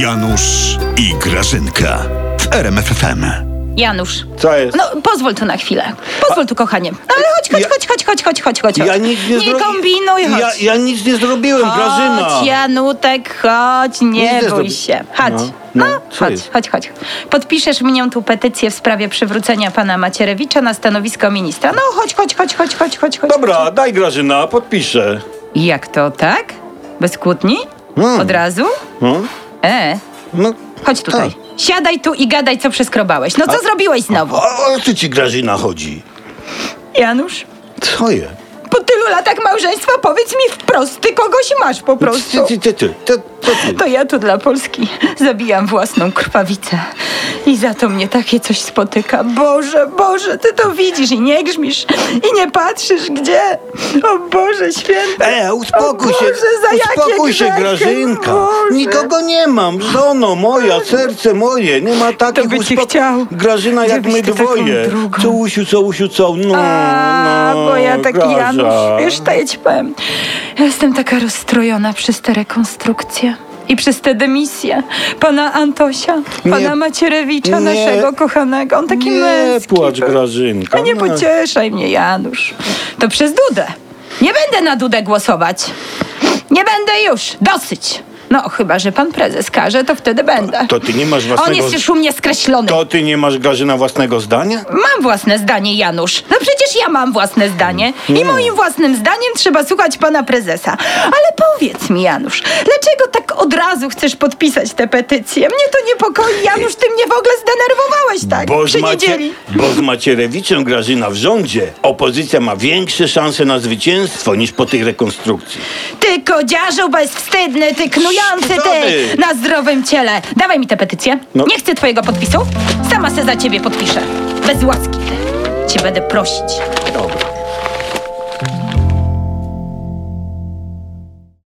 Janusz i Grażynka w RMFFM. Janusz, Co jest? no pozwól tu na chwilę. Pozwól tu, kochanie. No ale chodź, chodź, Ja- chodź, chodź, chodź, chodź, chodź, chodź. ja nic nie nie zrobiłem. kombinuj, chodź. Ja, ja nic nie zrobiłem, Grażyna. Chodź, Janutek, chodź, nie Nic nie bój zrobi- się. Chodź. No, No, no, co chodź, jest? chodź, chodź. Podpiszesz mnie tu petycję w sprawie przywrócenia pana Macierewicza na stanowisko ministra. No chodź, chodź, chodź, chodź, chodź, chodź. chodź. Dobra, daj Grażyna, podpiszę. Jak to, tak? Bez kłótni? Mm. Od razu? No, E, no. chodź tutaj. Siadaj tu i gadaj, co przeskrobałeś. No co zrobiłeś znowu? O, o co ci Grażyna chodzi? Janusz? Co jest? Po tylu latach małżeństwa powiedz mi wprost, ty kogoś masz po Ty, prostu. ty, ty, ty, ty, ty, ty. To ja tu dla Polski zabijam własną krwawicę. I za to mnie takie coś spotyka. Boże, Boże, ty to widzisz i nie grzmisz i nie patrzysz gdzie. O Boże święty. E, uspokój O się, Boże, za jakie uspokój się grzechy, Grażynka. Boże. Nikogo nie mam, żono moja, serce moje, nie ma takich by cię chciał. Grażyna Gdzie jak byś my ty taką dwoje. drugą? Co usiu, co usiu, co, no, A, no, bo ja taki Graża. Janusz, wiesz, to ja ci powiem. Ja jestem taka rozstrojona przez te rekonstrukcje i przez te dymisje pana Antosia, pana Nie. Macierewicza, Nie. naszego kochanego. On taki Nie męski. płacz Grażynka. A nie no. pocieszaj mnie, Janusz. To przez Dudę. Nie będę na Dudę głosować. Nie będę już. Dosyć. No, chyba, że pan prezes każe, to wtedy będę. To ty nie masz On własnego... jest już u mnie skreślony. To ty nie masz Grażyna własnego zdania? Mam własne zdanie, Janusz. No przecież ja mam własne zdanie. I moim własnym zdaniem trzeba słuchać pana prezesa. Ale powiedz mi, Janusz, dlaczego tak od razu chcesz podpisać tę petycję? Mnie to niepokoi, Janusz, ty mnie w ogóle zdenerwowałeś tak Bo z, przy niedzieli. bo z Macierewiczem Grażyna w rządzie opozycja ma większe szanse na zwycięstwo niż po tej rekonstrukcji. Ty kodziarzu bezwstydny, ty knujący, ty Szpony! na zdrowym ciele. Dawaj mi tę petycję. No. Nie chcę twojego podpisu. Sama se za ciebie podpiszę. Bez łaski. Cię będę prosić. Dobra.